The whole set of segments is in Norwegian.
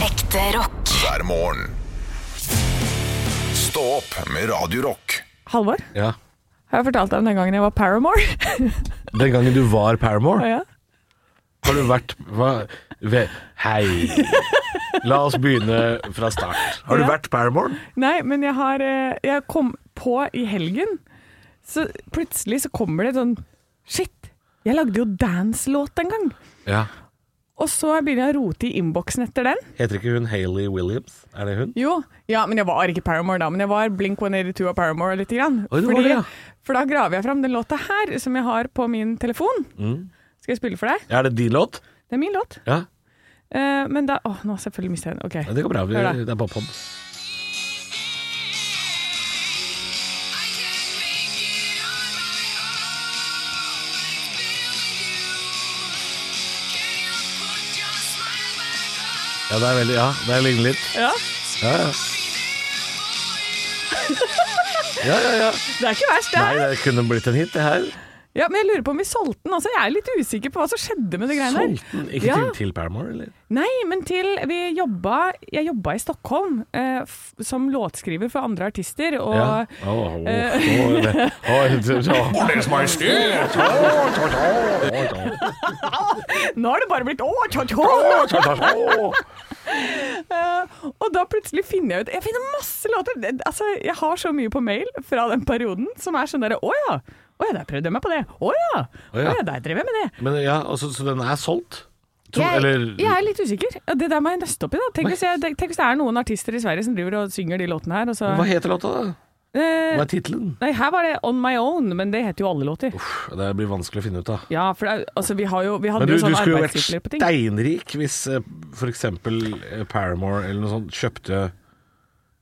Ekte rock. hver morgen. Stå opp med Radio Rock. Halvor, Ja. har jeg fortalt deg om den gangen jeg var Paramore? Den gangen du var Paramore, ja. har du vært hva, ve, Hei. La oss begynne fra start. Har du Ja. vært Paramore? Nei, men jeg har eh, Jeg kom på i helgen, så plutselig så kommer det et sånn Shit, jeg lagde jo dance-låt en gang. Ja. Og så begynner jeg å rote i innboksen etter den. Heter ikke hun Hayley Williams? Er det hun? Jo, ja, men jeg var ikke Paramore da, men jeg var Blink 182 og Paramore lite grann. Oi, det var det, ja. For da graver jeg fram den låta her, som jeg har på min telefon. Mm. Skal jeg spille for deg? Er det din låt? Det er min låt. Ja. Eh, men da Å, nå selvfølgelig mistet jeg den. OK. Ja, Det går bra. Vi, Hør da. det er bare pod. Ja, det er veldig Ja, det er ligner litt. Ja, Ja, ja. Ja, ja, ja. Det er ikke verst, det Nei, her. det kunne blitt en hit, det her. Ja, men jeg lurer på om vi solgte den. Altså, jeg er litt usikker på hva som skjedde med det greiene der. Solgte den ikke Ja. til, til Paramore, eller? Nei, men til vi jobba Jeg jobba i Stockholm eh, f som låtskriver for andre artister, og Ja. Å, å, å, det- å, det- å. nå har det bare blitt å, tja, tja. eh, Og da plutselig finner jeg ut Jeg finner masse låter! Det- Altså, jeg har så mye på mail fra den perioden som er sånn derre Å ja! Å ja, der prøvde jeg meg på det! Å ja! Å ja. ja, der drev jeg med det! Men ja, altså, så den er solgt? Tror- Jeg, eller jeg er litt usikker. Det der må jeg nøste opp i. da Tenk hvis, jeg, tenk hvis det er noen artister i Sverige som driver og synger de låtene her. Og så, Hva heter låta, da? Eh, Hva er tittelen? Nei, her var det On My Own, men det heter jo alle låter. Det blir vanskelig å finne ut av. Ja, for det, er- altså, vi, har jo, vi hadde Men du, jo du sånn skulle jo vært arbeidstitler på ting. steinrik hvis eh, for eksempel eh, Paramore eller noe sånt kjøpte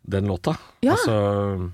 den låta. Ja. Altså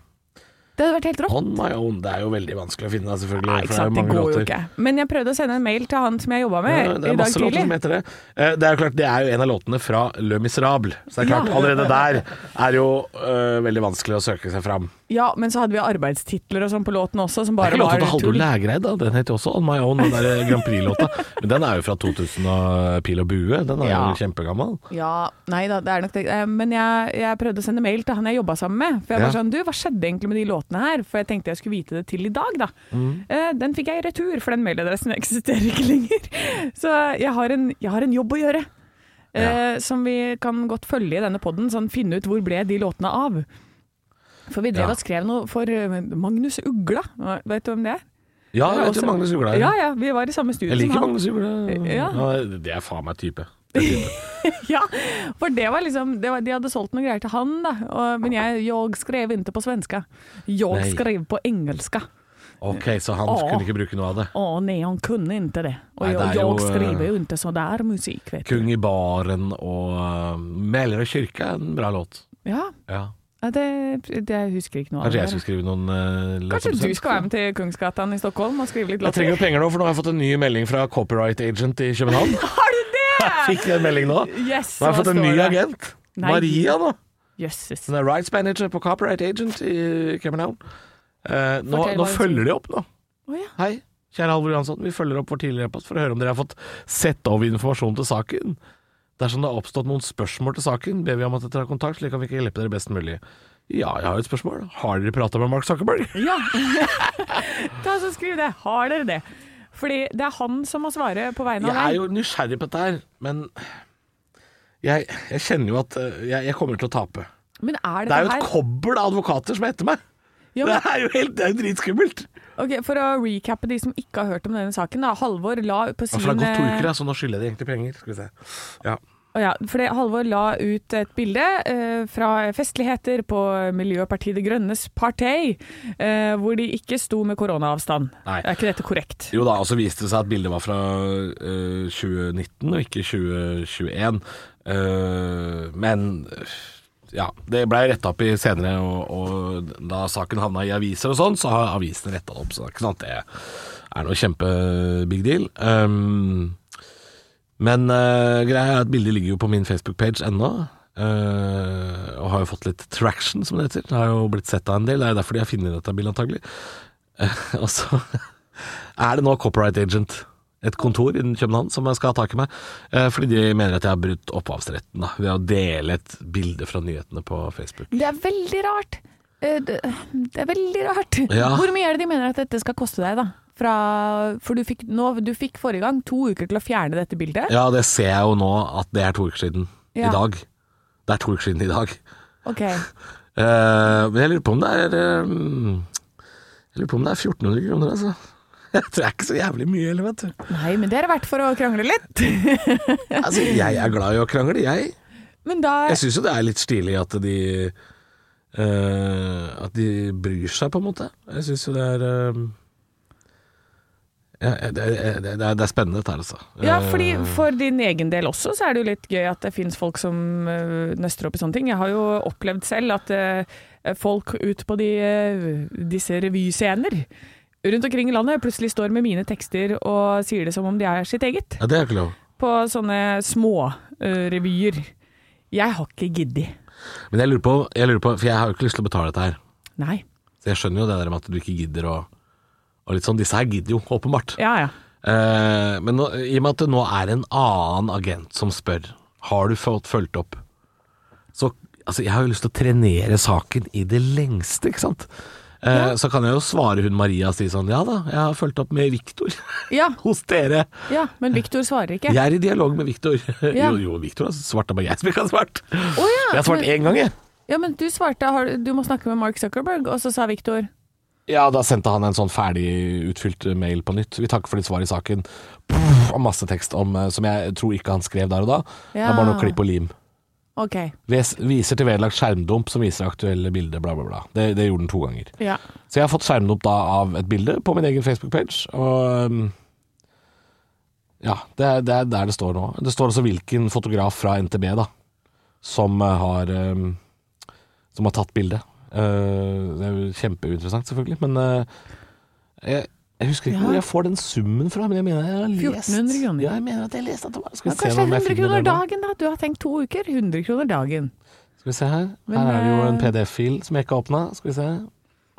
Det hadde vært helt rått. On My Own. Det er jo veldig vanskelig å finne, da, selvfølgelig. Nei, for ikke det er sant, det mange går jo låter. ikke. Men jeg prøvde å sende en mail til han som jeg jobba med Ja, det i er dag masse låter som tidlig. heter det. Eh, Det er jo klart, det er jo en av låtene fra Le Miserable. Så det er klart, Ja. allerede der er jo eh, veldig vanskelig å søke seg fram. Ja, men så hadde vi arbeidstitler og sånn på låten også, som Det er bare var ikke låta til Halldor tull. Lægreid, da. Den heter jo også On My Own, den der Grand Prix-låta. Men den er jo fra 2000 og eh, Pil og bue. Den er Ja. jo kjempegammel. Ja, nei da, det er nok det. Eh, Men jeg, jeg prøvde å sende mail til han jeg jobba sammen med. For jeg var Ja. sånn Du, hva skjedde egentlig med de låtene her? For jeg tenkte jeg skulle vite det til i dag, da. Mm. Eh, den fikk jeg i retur, for den mailadressen eksisterer ikke lenger. Så jeg har en, jeg har en jobb å gjøre. eh, Som vi kan godt følge i denne poden, sånn finne ut hvor ble de låtene av. For vi drev Ja. og skrev noe for eh, Magnus Ugla, vet du hvem det er? Ja, Det er jeg vet også- jo Magnus Ugla. Ja ja, vi var i samme studio Jeg som liker han. Magnus Ugla. Ja. Ja, det er faen meg type. Ja, for det var liksom det var, De hadde solgt noen greier til han, da. Og, men jeg, jeg skrev ikke på svenska. Jeg Nei. skrev på engelska. Ok, så han Å. kunne ikke bruke noe av det. Å nei, han kunne ikke det. Og Nei, det jeg, er jo, eh, jeg skriver jo ikke sånn der musikk, vet du. Kung i baren og uh, Mælerød kirke er en bra låt. Ja, Ja. ja, det, det jeg husker ikke noe av. Kanskje det jeg der. skulle skrive noen eh, Kanskje låter på du svensk, skal da? være med til Kungsgatan i Stockholm og skrive litt Jeg låter? trenger jo penger nå, for nå har jeg fått en ny melding fra copyright agent i København. Har du det?! Fikk jeg en melding nå. Yes, Nå har jeg hva fått en står ny det? agent. Nei. Maria nå. Jøsses. Hun er rights manager på copyright agent i København. Eh, Fortell nå, nå hva hun følger de opp nå. Å ja. Hei, kjære Halvor Johansson. Vi følger opp vår tidligere post for å høre om dere har fått sett over informasjon til saken. Dersom det har oppstått noen spørsmål til saken, ber vi om at dere tar kontakt, slik at vi kan hjelpe dere best mulig. Ja, jeg har jo et spørsmål. Har dere prata med Mark Zuckerberg? Ja. Ta så Skriv det. Har dere det? Fordi det er han som må svare på vegne av Jeg er deg. jo nysgjerrig på dette her, men jeg, jeg kjenner jo at eh, jeg, jeg kommer til å tape. Men er Det dette er jo et her kobbel av advokater som er etter meg. Ja, Det men- er jo helt det er jo dritskummelt. Ok, For å recappe de som ikke har hørt om denne saken. da Halvor la på Ja, sin for det har gått to uker, ja, så nå skylder jeg de egentlig penger. Skal vi se. Ja. Å ja, for det, Halvor la ut et bilde eh, fra festligheter på Miljøpartiet De Grønnes partei, eh, hvor de ikke sto med koronaavstand. Nei. Er ikke dette korrekt? Jo da, og så viste det seg at bildet var fra eh, 2019 og ikke 2021. Eh, men eh, ja, det blei retta opp i senere, og, og da saken havna i aviser og sånn, så har avisene retta det opp. Så det er ikke sånn at det er noe kjempe-big deal. Um, men eh, greia er at bildet ligger jo på min Facebook-page ennå. eh, og har jo fått litt traction, som det heter. Det har jo blitt sett av en del. Det er jo derfor de har funnet dette bildet, antagelig. Eh, og så er det nå copyright agent. et kontor innen København som jeg skal ha tak i meg, eh, fordi de mener at jeg har brutt opphavsretten da, ved å dele et bilde fra nyhetene på Facebook. Det er veldig rart. Eh, Det det er veldig rart. Ja. Hvor mye er det de mener at dette skal koste deg, da? Fra, for du fikk, nå, du fikk forrige gang to uker til å fjerne dette bildet. Ja, det ser jeg jo nå at det er to uker siden Ja. i dag. Det er to uker siden i dag. Ok, Eh, men jeg lurer på om det er eh, Jeg lurer på om det er 1400 kroner, altså. Jeg tror det er ikke så jævlig mye heller, vet du. Nei, men det er verdt for å krangle litt. Altså, jeg er glad i å krangle, jeg. Men da Jeg syns jo det er litt stilig at de eh, At de bryr seg, på en måte. Jeg syns jo det er eh, ja, det, det, det, er- det er spennende dette her, altså. Ja, Eh, fordi for din egen del også, så er det jo litt gøy at det finnes folk som øh, nøster opp i sånne ting. Jeg har jo opplevd selv at øh, folk ut på de, øh, disse revyscener rundt omkring i landet plutselig står med mine tekster og sier det som om de er sitt eget. ja, det er ikke lov. På sånne små øh, revyer. Jeg har ikke giddet. Men jeg lurer, på, jeg lurer på, for jeg har jo ikke lyst til å betale dette her. Nei. Så jeg skjønner jo det der med at du ikke gidder å og litt sånn, Disse her gidder jo, åpenbart. Ja ja. Eh, men nå, i og med at det nå er en annen agent som spør Har du fått fulgt opp, så altså, Jeg har jo lyst til å trenere saken i det lengste, ikke sant? Eh, Så kan jeg jo svare hun Maria og si sånn Ja da, jeg har fulgt opp med Viktor Ja, hos dere. ja men Viktor svarer ikke. Jeg er i dialog med Viktor. Ja. Jo, jo Viktor har svart, det er bare jeg som ikke har svart. Å ja, Jeg har svart men- én gang, jeg. Ja, men du svarte har, du- du må snakke med Mark Zuckerberg, og så sa Viktor Ja, da sendte han en sånn ferdig utfylt mail på nytt. Vi takker for ditt svar i saken. Pff, Og masse tekst om, eh, som jeg tror ikke han skrev der og da. Det er bare noe Ja. klipp og lim. OK. Ves- Viser til vedlagt skjermdump som viser aktuelle bilder, bla, bla, bla. Det, det gjorde den to ganger. Ja. Så jeg har fått skjermdump da av et bilde på min egen Facebook-page, og um, ja, det er, det er der det står nå. Det står også hvilken fotograf fra NTB da, som eh, har, um, som har tatt bildet. Eh, det er jo kjempeinteressant selvfølgelig, men eh, jeg, jeg husker ikke Ja. hvor jeg får den summen fra, men jeg mener jeg har lest. 1400 kroner. Ja, jeg mener at jeg leste at det var. Skal Ja, vi se kanskje om jeg 100 finner kroner det nå? dagen, da. Du har tenkt to uker. 100 kroner dagen. Skal vi se her. Men, her er det jo en eh, PDF-fil som jeg ikke har åpna. Skal vi se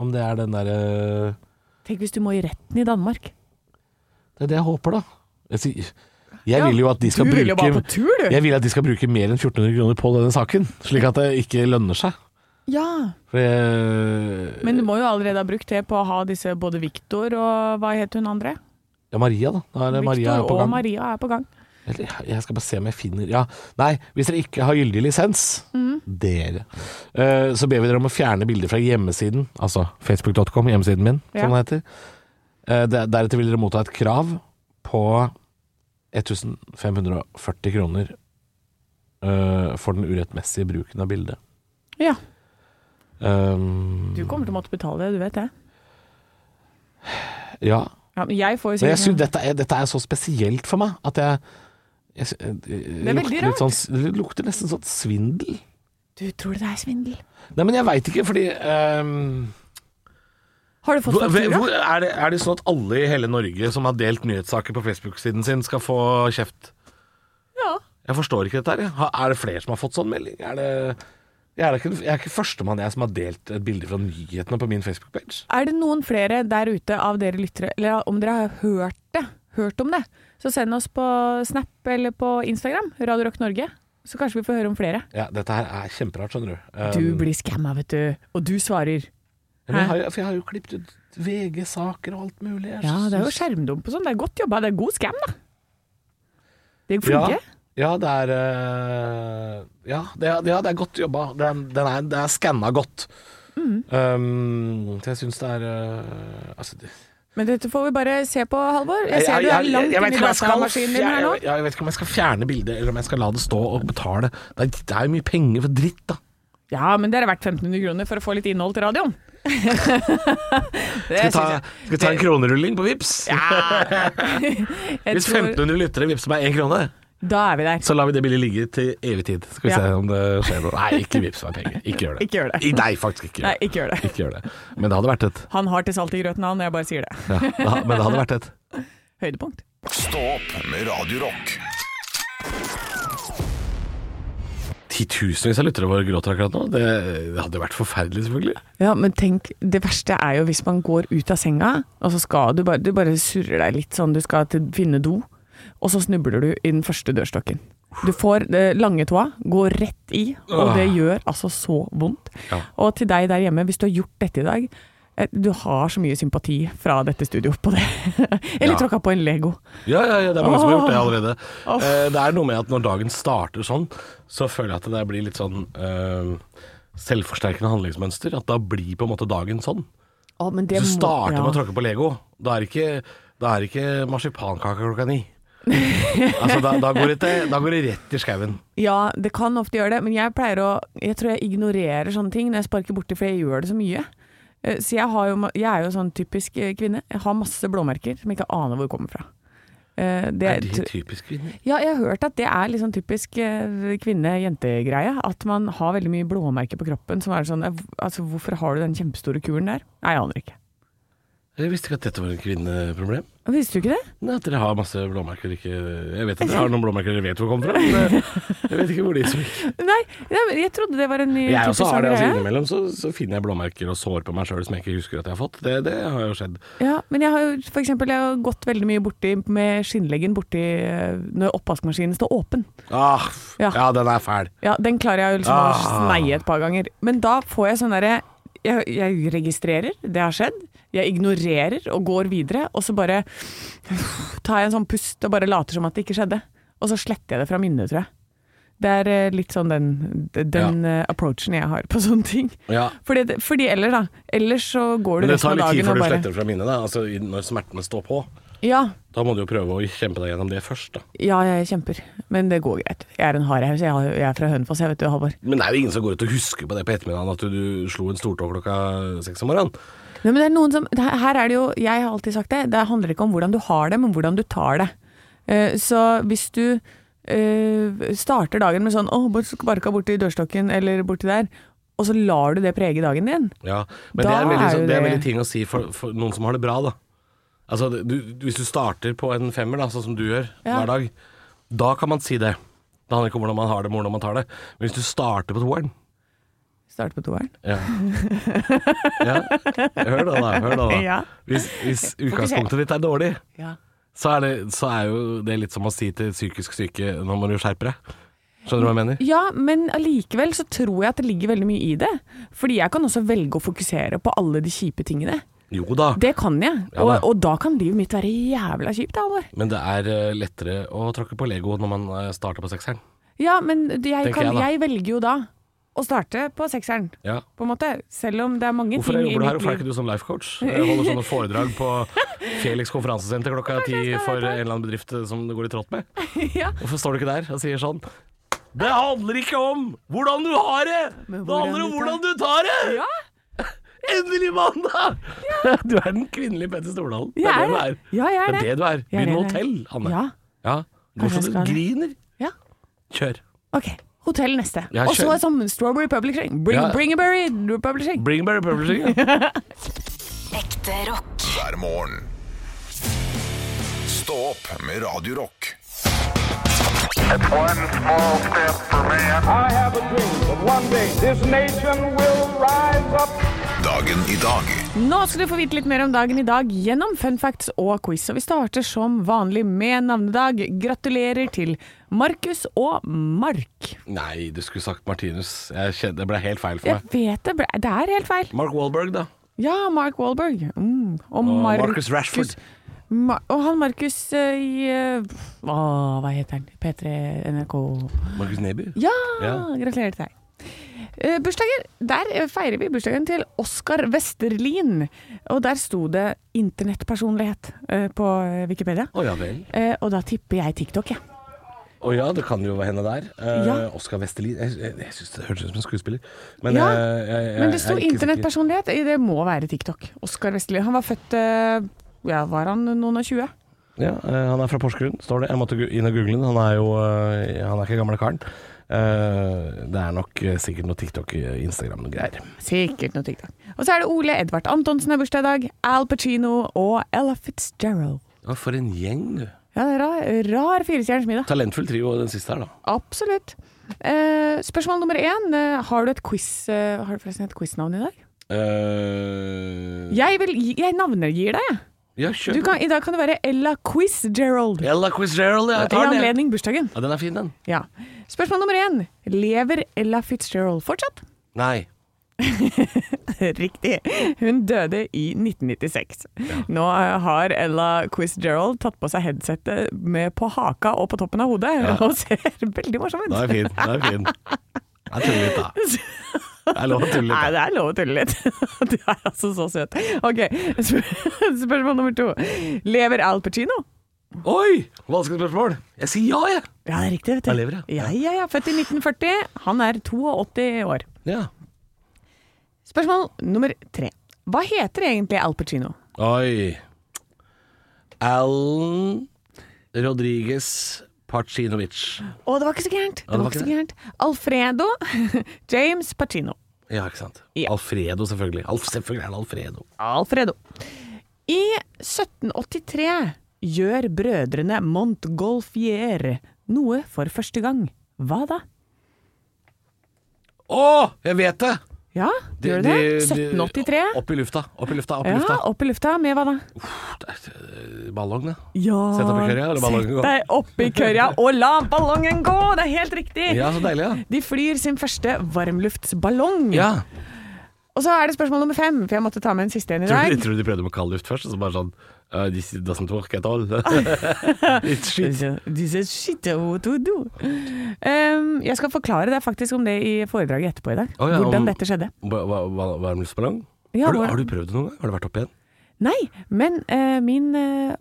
om det er den eh, derre Tenk hvis du må i retten i Danmark. Det er det jeg håper, da. Jeg, sier- jeg Ja, vil jo at de skal du vil jo bare bruke på tur, du! jeg vil at de skal bruke mer enn 1400 kroner på denne saken, slik at det ikke lønner seg. Ja, For jeg, Men du må jo allerede ha brukt det på å ha disse både Viktor og hva het hun andre? ja, Maria, da. Da er det Maria er Victor på og gang. Maria er på gang. Eller, jeg skal bare se om jeg finner Ja, nei, hvis dere ikke har gyldig lisens, Mm. dere, eh, så ber vi dere om å fjerne bilder fra hjemmesiden, altså facebook.com, hjemmesiden min, Ja. som den heter. Eh, de- Deretter vil dere motta et krav på 1540 kroner eh, for den urettmessige bruken av bildet. Ja, Um, du kommer til å måtte betale det, du vet det. Ja. Ja, men jeg får jo Men jeg synes sikkert dette, er, dette er så spesielt for meg at jeg, jeg, sy- jeg, er veldig lukter litt Sånn, det lukter nesten sånn svindel. Du tror det er svindel? Nei, men jeg veit ikke, fordi ehm, Har du fått hvor, faktura? hvor, er, det, er det sånn at alle i hele Norge som har delt nyhetssaker på Facebook-siden sin, skal få kjeft? Ja. Jeg forstår ikke dette her. jeg. Ha- Er det flere som har fått sånn melding? Er det, jeg, er da ikke, jeg er ikke førstemann jeg som har delt et bilde fra nyhetene på min Facebook-page. Er det noen flere der ute av dere lyttere, eller om dere har hørt det, hørt om det, så send oss på Snap eller på Instagram, Radio Rock Norge, så kanskje vi får høre om flere. Ja, dette her er kjemperart, skjønner du. Um, Du blir skamma, vet du. Og du svarer. ja, men jeg har, jo- for jeg har jo klippet ut VG-saker og alt mulig. Jeg Ja, det er jo synes- skjermdump og sånn. Det er godt jobba. Det er god skam, da. Det er Ja, flinke. ja, det er eh, ja, det, er- ja, det er godt jobba. Det er, den er, det er skanna godt. Mm. Um, så jeg syns det er eh, altså, det, Men dette får vi bare se på, Halvor. Jeg ser du er langt jeg vet inn i ikke om jeg skal datamaskinen din fjer- her nå. jeg- Jeg vet ikke om jeg skal fjerne bildet, eller om jeg skal la det stå og betale. Det er, det er jo mye penger for dritt, da. Ja, men det er verdt 1500 kroner for å få litt innhold til radioen. Skal det vi ta, skal vi ta en kronerulling på Vips? jeg Hvis tror, 1500 lyttere vipser meg én krone, Da er vi der. så lar vi det bildet ligge til evig tid. Skal vi Ja. se om det skjer noe. Nei, ikke vips meg penger. Ikke gjør det. Ikke gjør det. I- Nei, faktisk ikke. gjør Nei, det. ikke gjør det. Ikke gjør det. Men det hadde vært et. Han har til salt i grøten, han. Jeg bare sier det. Ja, det ha- men det hadde vært et. Høydepunkt. Stå opp med Radio Rock. titusenvis av lyttere våre gråter akkurat nå. Det, det hadde vært forferdelig, selvfølgelig. Ja, men tenk, det verste er jo hvis man går ut av senga, og så skal du bare, du bare surrer deg litt sånn, du skal til, finne do, og så snubler du i den første dørstokken. Du får eh, lange tåa, går rett i, og det gjør altså så vondt. Ah. Ja. Og til deg der hjemme, hvis du har gjort dette i dag, eh, du har så mye sympati fra dette studioet på det. Eller Ja. tråkka på en Lego. Ja, ja, ja, det er mange som har gjort det Åh. allerede. Åh. Eh, det er noe med at når dagen starter sånn, så føler jeg at det der blir litt sånn eh, selvforsterkende handlingsmønster. At da blir på en måte dagen sånn. Å, men det Hvis du må- starter ja. med å tråkke på Lego, da er det ikke, da er det ikke marsipankake klokka ni. altså, da, da, går det, til- da går det rett i skauen. Ja, det kan ofte gjøre det, men jeg pleier å Jeg tror jeg ignorerer sånne ting når jeg sparker borti, for jeg gjør det så mye. Eh, Så jeg, har jo, ma- jeg er jo sånn typisk eh, kvinne. Jeg har masse blåmerker som jeg ikke aner hvor kommer fra. Eh, Det, Er det typisk kvinner? ja, jeg har hørt at det er litt sånn typisk eh, kvinne-jente-greie. At man har veldig mye blåmerker på kroppen som er sånn eh, hv- Altså, hvorfor har du den kjempestore kuren der? Nei, jeg aner ikke. Jeg visste ikke at dette var et kvinneproblem. Visste du ikke det? Nei, At dere har masse blåmerker ikke Jeg vet at dere har noen blåmerker dere vet hvor kommer fra, men eh, jeg vet ikke hvor de som Nei, nei, men jeg trodde det var en ny Jeg også typisk sånn har det. altså greie. Innimellom så, så finner jeg blåmerker og sår på meg sjøl som jeg ikke husker at jeg har fått. Det, det har jo skjedd. Ja, men jeg har jo for eksempel, jeg har gått veldig mye borti med skinnleggen borti eh, når oppvaskmaskinen står åpen. Ah, ja. Ja. den er fæl. Ja, Den klarer jeg jo liksom å Ah. sneie et par ganger. Men da får jeg sånn derre jeg, jeg registrerer, det har skjedd. Jeg ignorerer og går videre. Og så bare tar jeg en sånn pust og bare later som at det ikke skjedde. Og så sletter jeg det fra minnet, tror jeg. Det er eh, litt sånn den, den eh, approachen jeg har på sånne ting. Ja. Fordi, det- fordi ellers, da. Ellers så går Men du det resten tar av litt tid dagen før og du bare sletter det fra minnet, da. Altså i- når smertene står på. Ja, Da må du jo prøve å kjempe deg gjennom det først, da. Ja, jeg kjemper, men det går greit. Jeg er en hardhaus, jeg har- jeg er fra Hønefoss, jeg vet du, Halvor. Men det er jo ingen som går ut og husker på det på ettermiddagen at du, du slo en stortå klokka seks om morgenen. Nei, men det er noen som, det her- her er det jo, jeg har alltid sagt det, det handler ikke om hvordan du har det, men hvordan du tar det. Eh, Så hvis du eh, starter dagen med sånn, åh, bare sparka borti dørstokken, eller borti der, og så lar du det prege dagen din. Ja, men Da det er, veldig, er jo sånn- det er det- veldig ting å si for, for noen som har det bra, da. Altså, det- du, du- hvis du starter på en femmer, da, sånn som du gjør Ja. hver dag, da kan man si det. Det handler ikke om hvordan man har det, men hvordan man tar det. Men hvis du starter på toeren Start på toeren. ja. ja. Hør da, da. Hør da, da. Ja. Hvis, hvis utgangspunktet ditt er dårlig, Ja. så er, det, så er jo det litt som å si til psykisk syke Nå må du skjerpe deg. Skjønner du hva jeg mener? Ja, men allikevel så tror jeg at det ligger veldig mye i det. Fordi jeg kan også velge å fokusere på alle de kjipe tingene. Jo da. Det kan jeg, Ja, og, da. og da kan livet mitt være jævla kjipt, Halvor. Men det er eh, lettere å tråkke på Lego når man eh, starter på sekseren. Ja, men det- jeg, Tenker kan, jeg jeg, da. velger jo da å starte på sekseren, Ja. på en måte. Selv om det er mange Hvorfor ting jobber du her? Hvorfor er liv- ikke du som life coach? Jeg holder sånne foredrag på Felix konferansesenter klokka ti for en eller annen bedrift eh, som det går litt rått med. ja. Hvorfor står du ikke der og sier sånn? Det handler ikke om hvordan du har det! Det Men hvordan handler om du hvordan du tar det! ja, Endelig mandag! Du er den kvinnelige Petter Stordalen. Det jeg er er det du er. det. Ja, jeg er Det er det du er. Jeg er Begynn med det. hotell, Hanne. Ja. Ja. Går Kanskje så jeg du skal det. griner. ja. Kjør. Ok. Hotell neste. Ja, Og så kjør. som Strawberry Publishing. Bring, Ja. bring a berry publishing. Bringberry Publishing. ja. Ekte rock. hver morgen. Stå opp med Radio Rock. It's one small step for man. I have a dream that one day this nation will rise up. Dagen i dag Nå skal du få vite litt mer om dagen i dag gjennom fun facts og quiz. Og vi starter som vanlig med navnedag. Gratulerer til Markus og Mark. Nei, du skulle sagt Martinus. Jeg kjente, det ble helt feil for Jeg meg. vet det, ble- det er helt feil. Mark Wahlberg, da. Ja, Mark Wahlberg. Mm. Og, Marcus Rashford. Ma og han Markus eh, i eh, Å, hva heter han? P3 NRK Markus Neby. Ja! Ja. Gratulerer til deg. Eh, bursdager. Der eh, feirer vi bursdagen til Oskar Westerlin. Og der sto det 'internettpersonlighet' eh, på eh, Wikipedia. Å ja vel. Eh, og da tipper jeg TikTok, jeg. Ja. Å ja, det kan jo hende der. Eh, Ja. Oskar Westerlin Jeg, jeg, jeg syns det hørtes ut som en skuespiller. Men, Ja, eh, jeg, jeg, Men det sto jeg er ikke sikker. 'internettpersonlighet'. Eh, Det må være TikTok. Oskar Westerlin. Han var født eh, ja, Var han noen og tjue? Ja, eh, han er fra Porsgrunn, står det. Jeg måtte gu- inn og google den. Han er jo eh, Han er ikke gamle karen. Eh, det er nok eh, sikkert noe TikTok, eh, Instagram og greier. Sikkert noe TikTok. Og så er det Ole Edvard Antonsen har bursdag i dag. Al Pacino og Ella Fitzgerald. Ja, for en gjeng, du. Ja, det er rar, rar firestjerners middag. Talentfull trio, den siste her, da. Absolutt. Eh, spørsmål nummer én. eh, har du et quiz eh, Har du forresten et quiznavn i dag? Eh, Jeg, vil, gi- jeg navnegir deg, jeg. ja, Du kjør på. kan, I dag kan det være Ella Quiz Gerald. Ella Quiz-Gerald, jeg I tar den. jeg. anledning bursdagen. Ja, den er fin, den. Ja. Spørsmål nummer én. Lever Ella Fitzgerald fortsatt? Nei. Riktig. Hun døde i 1996. Nå eh, har Ella Quiz-Gerald tatt på seg headsettet med på haka og på toppen av hodet, og ser veldig morsom ut. Den er fin. Den er fin. Jeg tuller litt, da. Det er lov å tulle Nei, litt. da. det er lov å tulle litt. Du er altså så søt. Ok, spør spørsmål nummer to. Lever Al Pacino? Oi! Vanskelig spørsmål. Jeg sier ja, jeg. Ja, det er riktig, vet du. Han lever, ja. Ja, ja, ja. Født i 1940. Han er 82 år. Ja. Spørsmål nummer tre. Hva heter egentlig Al Pacino? Oi. Alan Rodriguez Pacinovic. Å, det var ikke så gærent. Ja, Det var ikke så gærent. Alfredo James Pacino. Ja, ikke sant. Ja. Alfredo, selvfølgelig. Alf, selvfølgelig er det Alfredo. Alfredo. I 1783 gjør brødrene Montgolfier noe for første gang. Hva da? Å, jeg vet det! Ja, De- gjør du det? de- de- 1783? Opp i lufta, opp i lufta, opp i Ja, lufta. opp i lufta med hva da? Eh, Ballong, det. Ja, Sett opp i kørja, eller ballongen gå? Sett deg opp i kørja og la ballongen gå! Det er helt riktig! Ja, så deilig, ja. De flyr sin første varmluftsballong. Ja. Og så er det spørsmål nummer fem, for jeg måtte ta med en siste en i Tror, dag. du, tror du de prøvde med kald luft først, og så bare sånn uh, This doesn't work at all. It's shit. This is shit what to do. Um, jeg skal forklare deg faktisk om det i foredraget etterpå i dag. Å ja, hvordan om- dette skjedde. Ba- ba- ba- Varmluftsballong? Ja, har, du, hvor- har du prøvd det noen gang? Har du vært oppi en? Nei, men eh, min eh,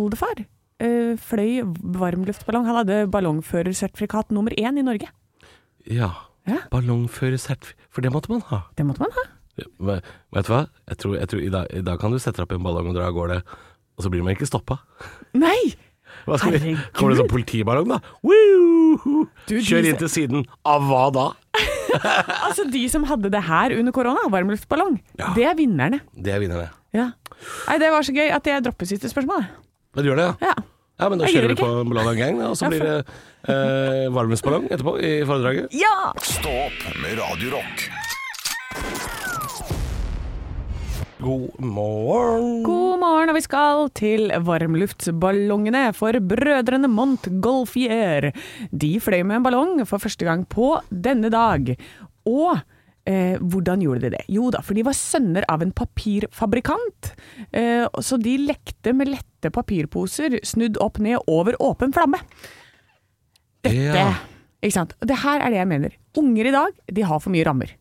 oldefar eh, fløy varmluftballong. Han hadde ballongførersertifikat nummer én i Norge. Ja. Ja. Ballongførersert... For det måtte man ha. Det måtte man ha. Ja, men, vet du hva? Jeg tror, jeg tror i, dag, I dag kan du sette deg opp i en ballong og dra av gårde, og så blir man ikke stoppa. Nei! Hva skal vi? Herregud. Kommer det sånn politiballong, da? Woo! Du, de- Kjør inn til siden. Av hva da? Altså, de som hadde det her under korona, varmluftballong, det er vinnerne. Det er vinnerne. Ja. Nei, det var så gøy at jeg dropper siste spørsmål. jeg. Men du gjør det, ja? Ja. Ja, men da Jeg gjør kjører det vi på en Ballong Gang, og så Ja, blir det eh, varmluftsballong etterpå i foredraget. ja! Stå opp med Radio Rock. God morgen. God morgen, og vi skal til varmluftballongene for brødrene Montgolfier. De fløy med en ballong for første gang på denne dag. Og eh, hvordan gjorde de det? Jo da, for de var sønner av en papirfabrikant. Eh, så de lekte med lette papirposer snudd opp ned over åpen flamme. Dette, Ja. ikke sant? Og Det her er det jeg mener. Unger i dag, de har for mye rammer.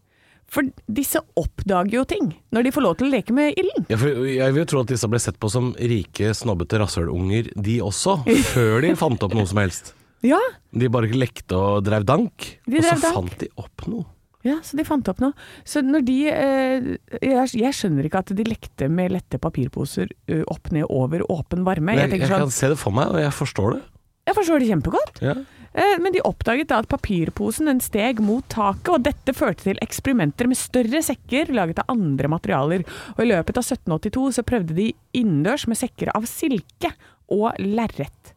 For disse oppdager jo ting når de får lov til å leke med ilden. Ja, for jeg vil jo tro at disse ble sett på som rike, snobbete rasshølunger, de også, før de fant opp noe som helst. Ja, De bare lekte og drev dank, De og så drev dank. fant de opp noe. ja, så de fant opp noe. Så når de eh, jeg, jeg skjønner ikke at de lekte med lette papirposer eh, opp ned over åpen varme. Jeg, Jeg, jeg tenker kan sånn, se det for meg, og jeg forstår det. jeg forstår det kjempegodt. Ja. Eh, men de oppdaget da at papirposen den steg mot taket, og dette førte til eksperimenter med større sekker laget av andre materialer. Og i løpet av 1782 så prøvde de innendørs med sekker av silke og lerret.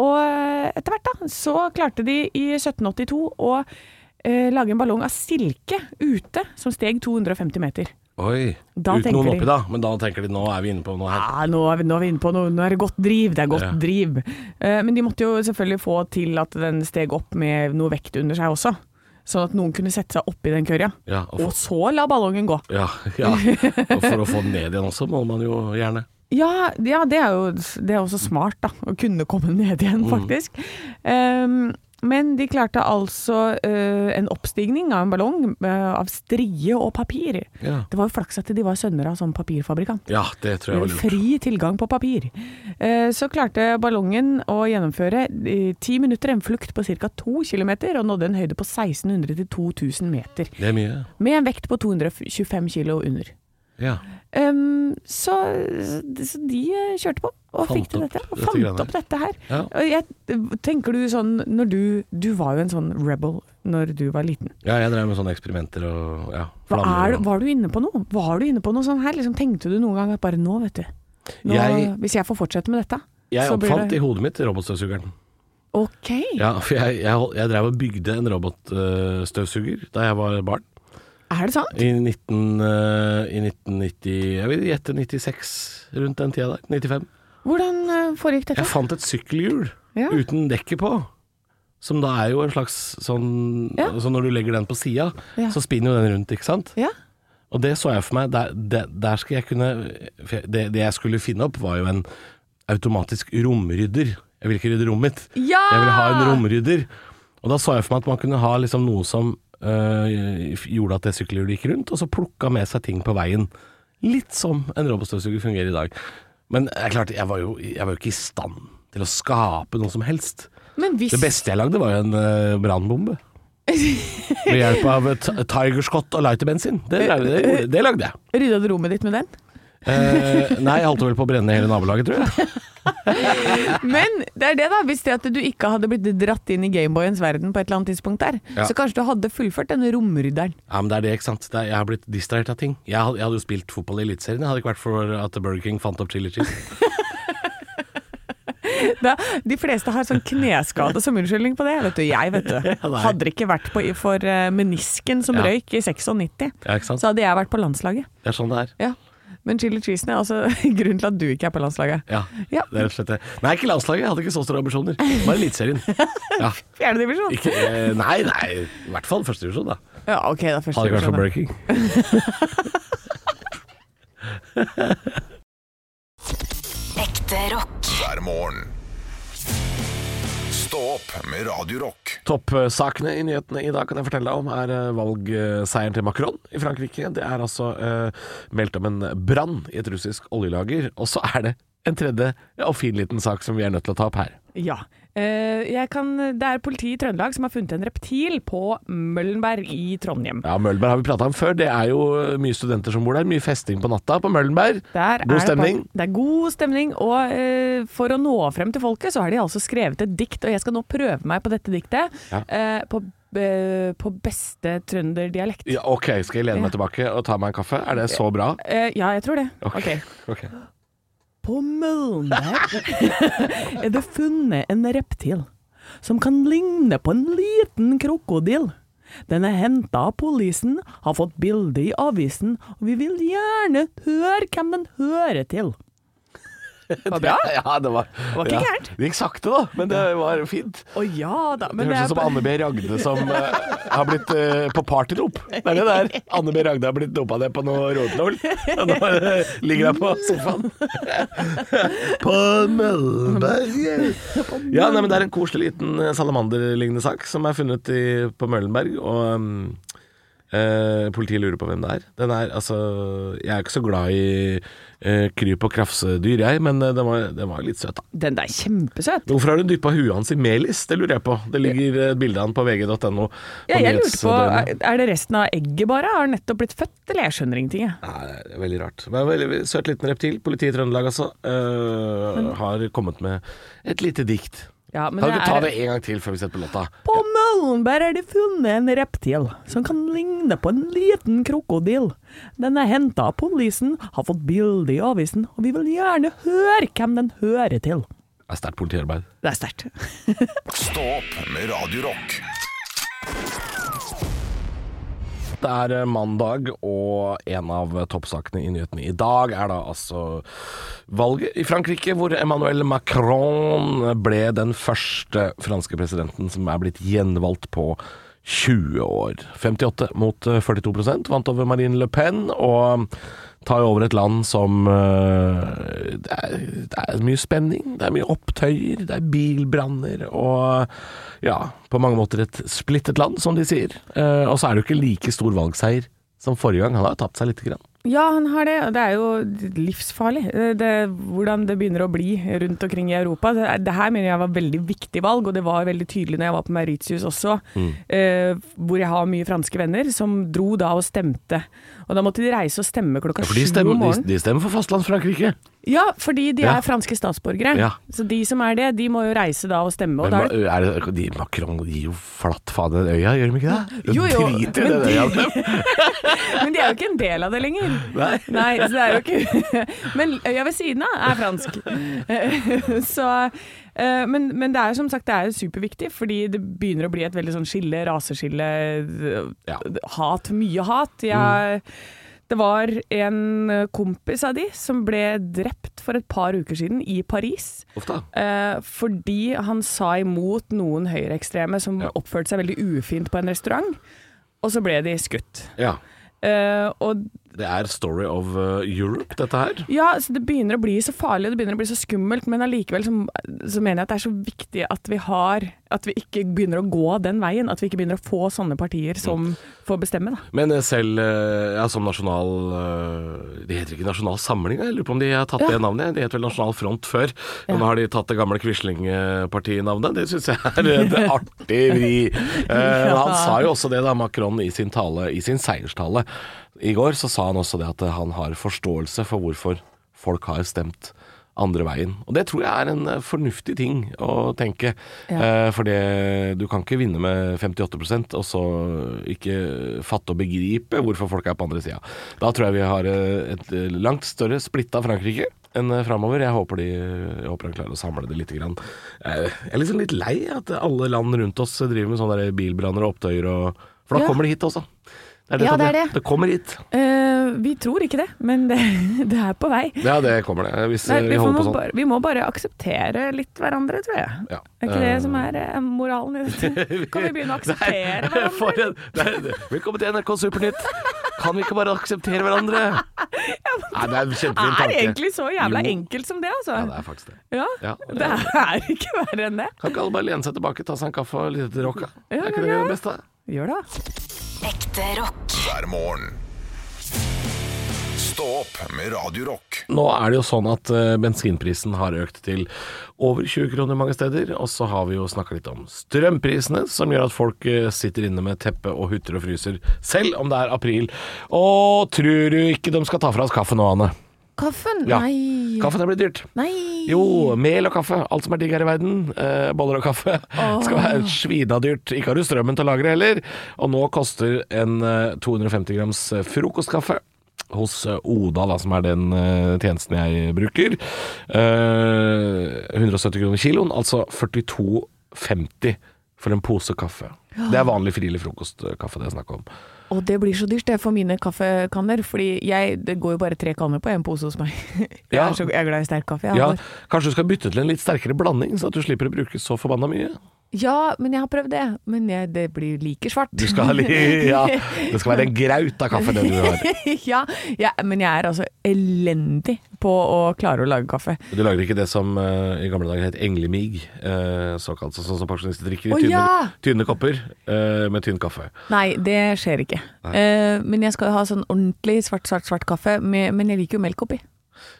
Og eh, etter hvert da, så klarte de i 1782 å eh, lage en ballong av silke ute som steg 250 meter. Oi. Da Uten tenker noen de- oppi, da. Men da tenker de nå er vi inne på noe her. Ja, nå er, vi, nå er vi inne på noe, nå er det godt driv, det er godt Ja. driv. Eh, men de måtte jo selvfølgelig få til at den steg opp med noe vekt under seg også. Sånn at noen kunne sette seg oppi den kørja. Ja, og Og så la ballongen gå. Ja, ja. Og for å få den ned igjen også, må man jo gjerne. Ja, ja det er jo det er også smart, da. Å kunne komme ned igjen, faktisk. Ehm, men de klarte altså eh, en oppstigning av en ballong eh, av strie og papir. Ja. Det var jo flaks at de var sønner av sånn papirfabrikant. Ja, det tror jeg var Med lurt. Eh, fri tilgang på papir. Eh, Så klarte ballongen å gjennomføre i ti minutter en flukt på ca. 2 km, og nådde en høyde på 1600-2000 meter. Det er mye. Med en vekt på 225 kg under. Ja. Ehm, så, så de eh, kjørte på og Fant fikk til opp dette. Og dette fant greiene opp dette her. Ja. Og jeg, tenker du sånn når du Du var jo en sånn rebel når du var liten. ja, jeg drev med sånne eksperimenter og ja, Hva er, og- var du inne på noe? Var du inne på noe sånn her? Liksom, tenkte du noen gang at bare nå, vet du nå, Jeg- Hvis jeg får fortsette med dette, Jeg så blir oppfant det i hodet mitt robotstøvsugeren. Ok. Ja, for jeg, jeg, hold- jeg drev og bygde en robotstøvsuger da jeg var barn. Er det sant? I, 19, eh, I 1990 Jeg vil gjette 96, rundt den tida der. 95. Hvordan eh, foregikk dette? Jeg fant et sykkelhjul Ja. uten dekket på. Som da er jo en slags sånn Ja. Så når du legger den på sida, Ja. så spinner jo den rundt, ikke sant? Ja. Og det så jeg for meg. Der, der, der skal jeg kunne for jeg- det, det jeg skulle finne opp, var jo en automatisk romrydder. Jeg vil ikke rydde rommet mitt. Ja! Jeg vil ha en romrydder. Og da så jeg for meg at man kunne ha liksom noe som øh, gjorde at det sykkelhjulet gikk rundt, og så plukka med seg ting på veien. Litt som en robotstøvsuger fungerer i dag. Men det er klart, jeg var, jo, jeg var jo ikke i stand til å skape noe som helst. Men hvis Det beste jeg lagde, var jo en uh, brannbombe. Ved hjelp av eh, t- Tigerskott og lighterbensin. Det, det, det lagde jeg. Rydda du rommet ditt med den? Eh, nei, jeg holdt vel på å brenne hele nabolaget, tror jeg. Men det er det, da. Hvis det at du ikke hadde blitt dratt inn i Gameboyens verden på et eller annet tidspunkt der, Ja. så kanskje du hadde fullført denne romrydderen. Ja, men det er det, ikke sant. Det er, jeg har blitt distrahert av ting. Jeg, had- jeg hadde jo spilt fotball i Eliteserien, jeg hadde ikke vært for at Burger King fant opp chili cheese. Da, de fleste har sånn kneskade som unnskyldning på det. Vet du, jeg, vet du. nei. Hadde det ikke vært på, for eh, menisken som Ja. røyk i 96, Ja, ikke sant. så hadde jeg vært på landslaget. Det er sånn det er. Ja. Men chili cheesen er altså grunnen til at du ikke er på landslaget. Ja, Ja. det er rett og slett det. Nei, ikke landslaget, jeg hadde ikke så store ambisjoner. Bare Eliteserien. Ja. Fjerdedivisjon! Ikke, eh, nei, nei, i hvert fall første divisjon, da. Ja, ok, da første Hadde ikke vært divisjon, for da. Burger King. Ekte rock. hver morgen. Stå opp med Radio Rock. Toppsakene i nyhetene i dag kan jeg fortelle deg om er eh, valgseieren til Macron i Frankrike. Det er altså eh, meldt om en brann i et russisk oljelager. Og så er det en tredje og fin liten sak som vi er nødt til å ta opp her. Ja. Eh, jeg kan, det er politiet i Trøndelag som har funnet en reptil på Møllenberg i Trondheim. Ja, Møllenberg har vi prata om før. Det er jo eh, mye studenter som bor der. Mye festing på natta på Møllenberg. Der er God det stemning. bare- Det er god stemning, og eh, for å nå frem til folket, så har de altså skrevet et dikt, og jeg skal nå prøve meg på dette diktet Ja. eh, på, eh, på beste trønderdialekt. Ja, OK, skal jeg lene meg tilbake og ta meg en kaffe? Er det så bra? Eh, ja, jeg tror det. Ok. Ok. På Møllenberg er det funnet en reptil som kan ligne på en liten krokodil. Den er henta av politien, har fått bilde i avisen, og vi vil gjerne høre hvem den hører til. Det var bra. Ja, det var, var ikke ja. gærent. Det gikk sakte, da, men det var fint. Å ja da. Men det høres ut som Anne B. Ragde som eh, har blitt eh, på partydop. Det er det der. Anne B. Ragde har blitt dopa ned på noe rotenål, og nå eh, ligger hun på sofaen. på Møllenberg. Ja, nei, men det er en koselig liten eh, salamanderlignende sak som er funnet i, på Møllenberg, og mm, eh, politiet lurer på hvem det er. Den er altså Jeg er ikke så glad i eh, kryp- og krafsedyr, jeg, men eh, den var, den var litt søt, da. Den der er kjempesøt. Hvorfor har du dyppa huet hans i melis? Det lurer jeg på. Det ligger et bilde av han på vg.no. Ja, jeg lurte på, nyhetsdøgnet. er er det resten av egget bare? Har den nettopp blitt født, eller? Jeg skjønner ingenting, jeg. Nei, det er veldig rart. Men veldig Søt liten reptil. Politiet i Trøndelag, altså. øh, har kommet med et lite dikt. Ja, men kan det du ta er- det en gang til før vi setter på låta? På Møllenberg er det funnet en reptil som kan ligne på en liten krokodil. Den er henta av politien, har fått bilde i avisen, og vi vil gjerne høre hvem den hører til. Det er sterkt politiarbeid. Det er sterkt. Stå opp med Radio Rock Det er eh, mandag, og en av toppsakene i nyhetene i dag er da altså valget i Frankrike, hvor Emmanuel Macron ble den første franske presidenten som er blitt gjenvalgt på 20 år. 58 mot eh, 42 vant over Marine Le Pen, og tar over et land som eh, det, er, det er mye spenning, det er mye opptøyer, det er bilbranner og ja, på mange måter et splittet land, som de sier. Eh, og så er det jo ikke like stor valgseier som forrige gang. Han har jo tapt seg lite grann. Ja, han har det, og det er jo livsfarlig eh, det, hvordan det begynner å bli rundt omkring i Europa. Det, er- det her mener jeg var veldig viktig valg, og det var veldig tydelig når jeg var på Mauritius også, Mm. eh, hvor jeg har mye franske venner som dro da og stemte. Og da måtte de reise og stemme klokka For de sju om stemmer, morgenen. de, de stemmer for fastlands-Frankrike. Ja, fordi de Ja. er franske statsborgere. Ja. Så de som er det, de må jo reise da og stemme. Og Men da ma- er det er det, de, Macron gir jo flatt faen i den øya, gjør de ikke det? De Jo, jo, Driter i men den de- øya. dem. Men de er jo ikke en del av det lenger. Nei. så det er jo ikke Men øya ved siden av er fransk. Så Eh, Men, men det er jo som sagt det er jo superviktig, fordi det begynner å bli et veldig sånn skille, raseskille, d- Ja. Mm. d- hat, mye hat. Jeg, Det var en kompis av de som ble drept for et par uker siden i Paris. Ofte. Eh, fordi han sa imot noen høyreekstreme som Ja. oppførte seg veldig ufint på en restaurant, og så ble de skutt. Ja. Eh, og Det er story of eh, Europe, dette her. ja, så det begynner å bli så farlig og det begynner å bli så skummelt, men allikevel så, så mener jeg at det er så viktig at vi har At vi ikke begynner å gå den veien. At vi ikke begynner å få sånne partier som får bestemme, da. Men eh, selv eh, ja, som nasjonal eh, Det heter ikke Nasjonal Samling, jeg lurer på om de har tatt det navnet. De het vel Nasjonal Front før. Ja. Og nå har de tatt det gamle Quisling-partinavnet. Det syns jeg er et artig vri. Eh, Han sa jo også det, da, Macron, i sin tale, i sin seierstale i går, så sa han også det at eh, han har forståelse for hvorfor folk har stemt andre veien. Og det tror jeg er en eh, fornuftig ting å tenke. Eh, for det, du kan ikke vinne med 58 og så eh, ikke fatte og begripe hvorfor folk er på andre sida. Da tror jeg vi har eh, et eh, langt større splitta Frankrike enn eh, framover. Jeg håper, de, jeg håper de klarer å samle det litt. Grann. Eh, jeg er liksom litt lei at alle land rundt oss driver med sånne der bilbranner og opptøyer og For da Ja. kommer de hit også. Det er Ja, det er som- det. Det kommer hit. Eh, vi tror ikke det, men det, det er på vei. Ja, det kommer det. Hvis Nei, eh, vi, vi får holder må på sånn. bare, vi må bare akseptere litt hverandre, tror jeg. Ja. Er ikke det som er eh, moralen i dette? Kan vi begynne å akseptere For hverandre? en, det er, velkommen til NRK Supernytt. Kan vi ikke bare akseptere hverandre? Nei, det er en Det kjempefin er tanke. egentlig så jævla Jo. enkelt som det, Ja, det altså. er faktisk det. Ja, Ja, det det er ikke verre enn det. Kan ikke alle bare lene seg tilbake, ta seg en kaffe og lytte til rocka? Ja, er ikke det ja. det beste? Gjør det, da. Ekte rock. hver morgen. Stå opp med Radio Rock. Nå er det jo sånn at eh, bensinprisen har økt til over 20 kroner mange steder, og så har vi jo snakka litt om strømprisene, som gjør at folk eh, sitter inne med teppe og hutter og fryser, selv om det er april. Og tror du ikke de skal ta fra oss kaffen nå, Anne? Kaffen? Ja. Nei. Kaffen er blitt dyrt. Nei. Jo, mel og kaffe. Alt som er digg her i verden. Eh, boller og kaffe. Skal være svinadyrt. Ikke har du strømmen til å lagre heller. Og nå koster en eh, 250 grams eh, frokostkaffe hos eh, Oda, da, som er den eh, tjenesten jeg bruker. Eh, 170 kroner kiloen, altså 42,50 for en pose kaffe. Det er vanlig frilig frokostkaffe det er snakk om. Og det blir så dyrt det for mine kaffekanner, fordi jeg, det går jo bare tre kanner på en pose hos meg. Jeg Ja. er så jeg er glad i sterk kaffe. Jeg Ja, har- kanskje du skal bytte til en litt sterkere blanding, så at du slipper å bruke så forbanna mye. ja, men jeg har prøvd det. Men jeg, det blir like svart. Du skal ha li- ja, Det skal være en graut av kaffe, det du har. ja, ja, men jeg er altså elendig på å klare å lage kaffe. Du lager ikke det som eh, i gamle dager het englemig, eh, såkalt sånn som pensjonister drikker. i Å, tynne, ja! tynne kopper eh, med tynn kaffe. Nei, det skjer ikke. Eh, men jeg skal jo ha sånn ordentlig svart, svart, svart kaffe, med, men jeg liker jo melk oppi.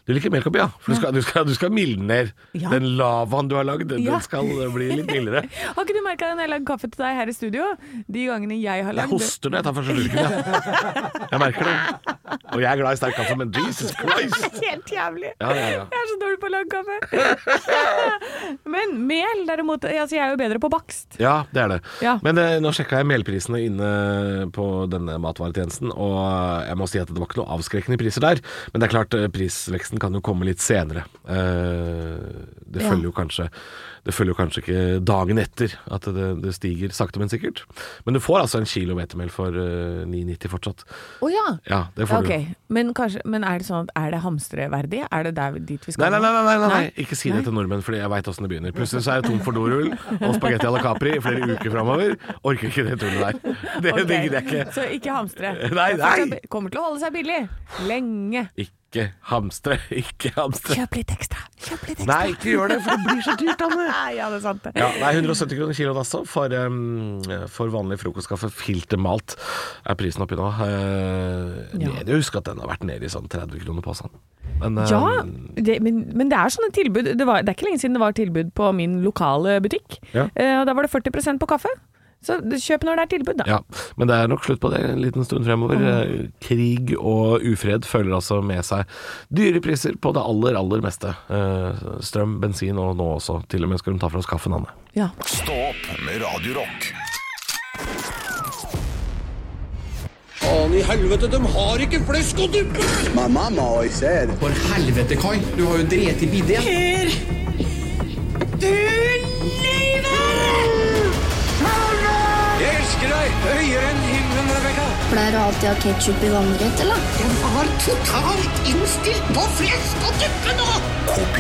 Du liker melkoppi, ja. For du skal, du skal, du skal mildne ned. Ja. Den lavaen du har lagd, den Ja. skal eh, bli litt mildere. Har ikke du merka det når jeg lager kaffe til deg her i studio? De gangene jeg har Jeg lagd hoster når jeg tar første slurken, jeg. Jeg merker det. Og jeg er glad i sterk kaffe, men Jesus Christ! Helt jævlig. Ja, ja, ja. Jeg er så dårlig på å lage kaffe. Men mel, derimot altså Jeg er jo bedre på bakst. Ja, det er det. Ja. Men eh, nå sjekka jeg melprisene inne på denne matvaretjenesten, og eh, jeg må si at det var ikke noe avskrekkende priser der. Men det er klart, eh, prisveksten kan jo komme litt senere. Eh, det, Ja. følger jo kanskje, det følger jo kanskje ikke dagen etter at det, det stiger sakte, men sikkert. Men du får altså en kilo hvetemel for eh, 9,90 fortsatt. Å ja. Ja, det får du. Ok, men, kanskje, men er det sånn at er det hamstreverdig? Er det der, dit vi Nei skal nei nei, nei, nei, nei, Nei. ikke si det til nordmenn, Fordi jeg veit åssen det begynner. Plutselig så er jeg tom for dorull og spagetti à la Capri i flere uker framover. Orker ikke det tullet der. Det Ok, digger jeg ikke. Så ikke hamstre. Nei, Det fortsatt nei. Kommer til å holde seg billig. Lenge. Ikke hamstre, ikke hamstre. Kjøp litt ekstra. Kjøp litt ekstra. Nei, ikke gjør det, for det blir så dyrt, Anne. Nei, ja, det er sant. det. Ja, det er 170 kroner kiloen altså for, um, for vanlig frokostkaffe. Filtermalt er prisen oppi nå. Eh, Ja. ned- Jeg husker at den har vært nede i sånn 30 kroner på sånn. Men, eh, Ja, det, men, men det er sånne tilbud. Det, var, det er ikke lenge siden det var tilbud på min lokale butikk. Ja. Eh, og da var det 40 på kaffe. Så kjøp når det er tilbud, da. ja, men det er nok slutt på det en liten stund fremover. Eh, Krig og ufred følger altså med seg dyre priser på det aller, aller meste. Eh, strøm, bensin og nå også. Til og med skal de ta fra oss kaffen, Anne. Ja. Stå opp med Radio Rock. Faen i helvete, de har ikke flesk og duppe! My mama always said, For helvete, Kai. Du har jo drept i bidé. Per! Jeg elsker deg høyere enn himmelen, Rebekka. Pleier du alltid å ha ketsjup i vannrett, eller?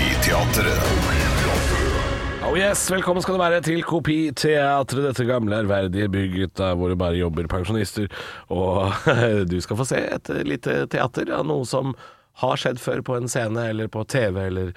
Kopiteatret. Oh yes, Velkommen skal du være til Kopiteatret, dette gamle ærverdige bygget der hvor det bare jobber pensjonister. Og du skal få se et lite teater av noe som har skjedd før på en scene eller på TV eller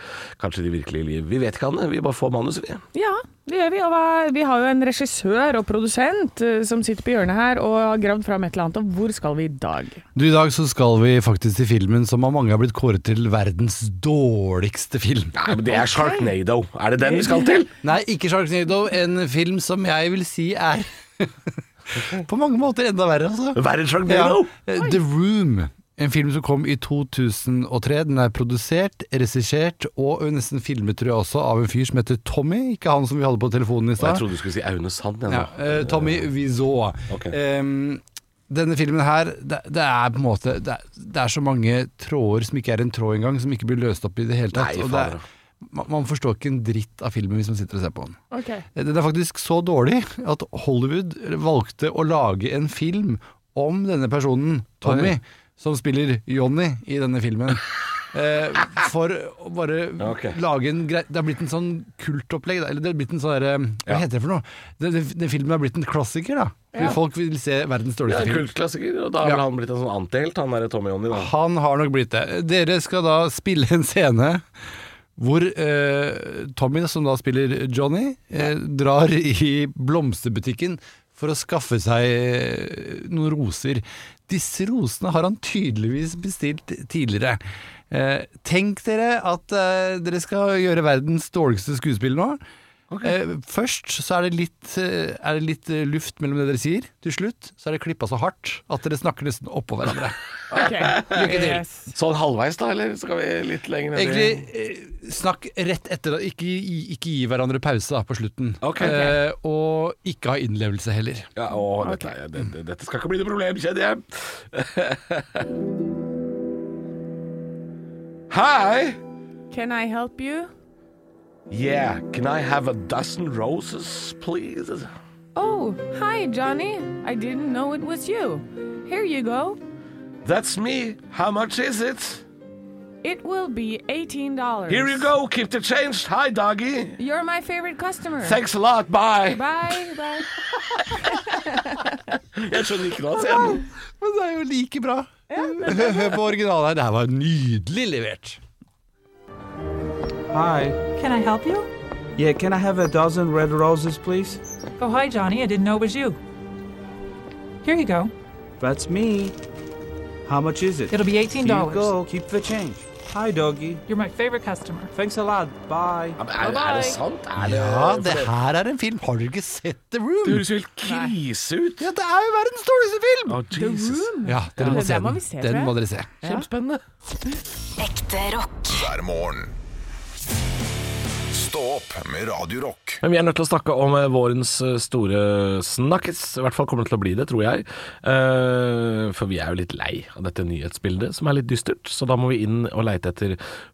kanskje i det virkelige liv. Vi vet ikke, Anne. Vi bare får manuset, vi. Ja, det gjør vi. Og hva- vi har jo en regissør og produsent eh, som sitter på hjørnet her og har gravd fram et eller annet. Og hvor skal vi i dag? Du, I dag så skal vi faktisk til filmen som av mange har blitt kåret til verdens dårligste film. Nei, men Det er Sharknado. Er det den vi skal til? Nei, ikke Sharknado, en film som jeg vil si er på mange måter enda verre, altså. Verre enn Sharknado? Ja. Eh, The Room. En film som kom i 2003. Den er produsert, regissert og nesten filmet, tror jeg også, av en fyr som heter Tommy. Ikke han som vi hadde på telefonen i Jeg stad. trodde du skulle si Aune Sand. jeg, Ja, nå. eh, Tommy Wiseau. Ok. Em, denne filmen her, det, det er på en måte det er, det er så mange tråder som ikke er en tråd engang, som ikke blir løst opp i det hele tatt. Nei, og det fader. er, man, man forstår ikke en dritt av filmen hvis man sitter og ser på den. Okay. Den er faktisk så dårlig at Hollywood valgte å lage en film om denne personen, Tommy, som spiller Johnny i denne filmen. Eh, for å bare ok. lage en grei Det har blitt en sånn kultopplegg, da. Eller det har blitt en sånn derre Hva Ja. heter det for noe? Den, den, den filmen har blitt en klassiker, da. Fordi Folk vil se verdens Ja, dårligste en film. Kultklassiker. Og da har Ja. vel han blitt en sånn antihelt, han derre Tommy Johnny. da. Han har nok blitt det. Dere skal da spille en scene hvor eh, Tommy, som da spiller Johnny, eh, drar i blomsterbutikken for å skaffe seg eh, noen roser. Disse rosene har han tydeligvis bestilt tidligere. Eh, tenk dere at eh, dere skal gjøre verdens dårligste skuespill nå. Eh, først så er det, litt, eh, er det litt eh, luft mellom det dere sier. Til slutt så er det klippa så hardt at dere snakker nesten oppå hverandre. Lykke til. Sånn halvveis, da, eller skal vi litt lenger ned? i- Egentlig, eh, snakk rett etter. da. Ikke, gi- ikke gi hverandre pause da, på slutten. Ok. Eh, og ikke ha innlevelse heller. Ja, å, dette, er- det, det, dette skal ikke bli noe problem, kjenner jeg. Hi! Can I help you? Yeah, can I have a dozen roses, please? Oh, hi, Johnny. I didn't know it was you. Here you go. That's me. How much is it? It will be $18. Here you go. Keep the change. Hi, doggy. You're my favorite customer. Thanks a lot. Bye. Bye, bye. Jeg skjønner ikke noe av scenen. Men det er jo like bra. Hør på originalen her. Det her var nydelig levert. Hi. Can I help you? Yeah, can I have a dozen red roses, please? Oh, hi, Johnny. I didn't know it was you. Here you go. That's me. How much is it? It'll be $18. Here you go. Keep the change. Hi, doggy. You're my favorite customer. Thanks a lot. Bye. Ja, men Er, er det sant? Er det, Ja, det her er en film. Har dere ikke sett The det Room? høres jo helt krise ut. Ja, det er jo verdens dårligste film! Oh, Jesus. Ja, dere Ja, må den må se vi den. se, tror Den jeg. må dere se. Kjempespennende. Ekte rock. hver morgen. Stå opp med Radio Rock. Men vi er nødt til å snakke om eh, vårens eh, store snakkes. I hvert fall kommer det til å bli det, tror jeg. Eh, For vi er jo litt lei av dette nyhetsbildet, som er litt dystert. Så da må vi inn og leite etter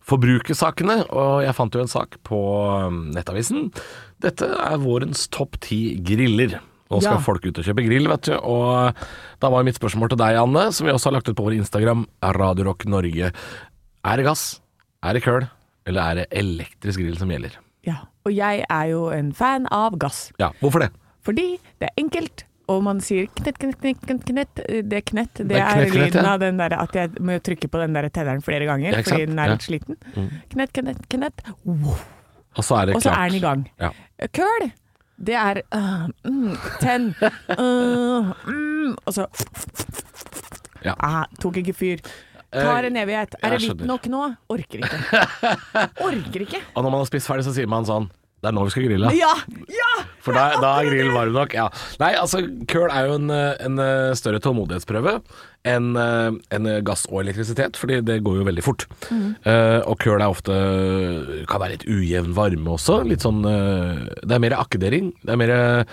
forbrukersakene. Og jeg fant jo en sak på eh, Nettavisen. Dette er vårens topp ti griller. Nå skal Ja. folk ut og kjøpe grill, vet du. Og da var mitt spørsmål til deg, Anne, som vi også har lagt ut på vår Instagram, Radio Rock Norge. Er det gass, er det køl, eller er det elektrisk grill som gjelder? Ja, og jeg er jo en fan av gass. Ja, hvorfor det? Fordi det er enkelt, og man sier knett, knett, knett, knett, knett. Det er knett, det, Det er er, knett, knett, lyden ja. av den der at jeg må trykke på den der tenneren flere ganger, Ja, ikke sant? fordi den er Ja. litt sliten. Knett, knett, knett. Wow. Og så er det Og så klart. er den i gang. Ja. Køl, det er øh, mm, tenn, øh, mm, og så Ja. ah, Tok ikke fyr. Tar en evighet. Er det Eh, jeg hvitt skjønner. nok nå? Orker ikke. Orker ikke. Og når man har spist ferdig, så sier man sånn Det er nå vi skal grille. Ja! ja! For da, da er grillen varm nok. Ja. Nei, altså, køl er jo en, eh, en eh, større tålmodighetsprøve enn eh, enn gass og elektrisitet, fordi det går jo veldig fort. Mm. Eh, og køl er ofte kan være litt ujevn varme også. Litt sånn eh, Det er mer akkedering. Det er mer eh,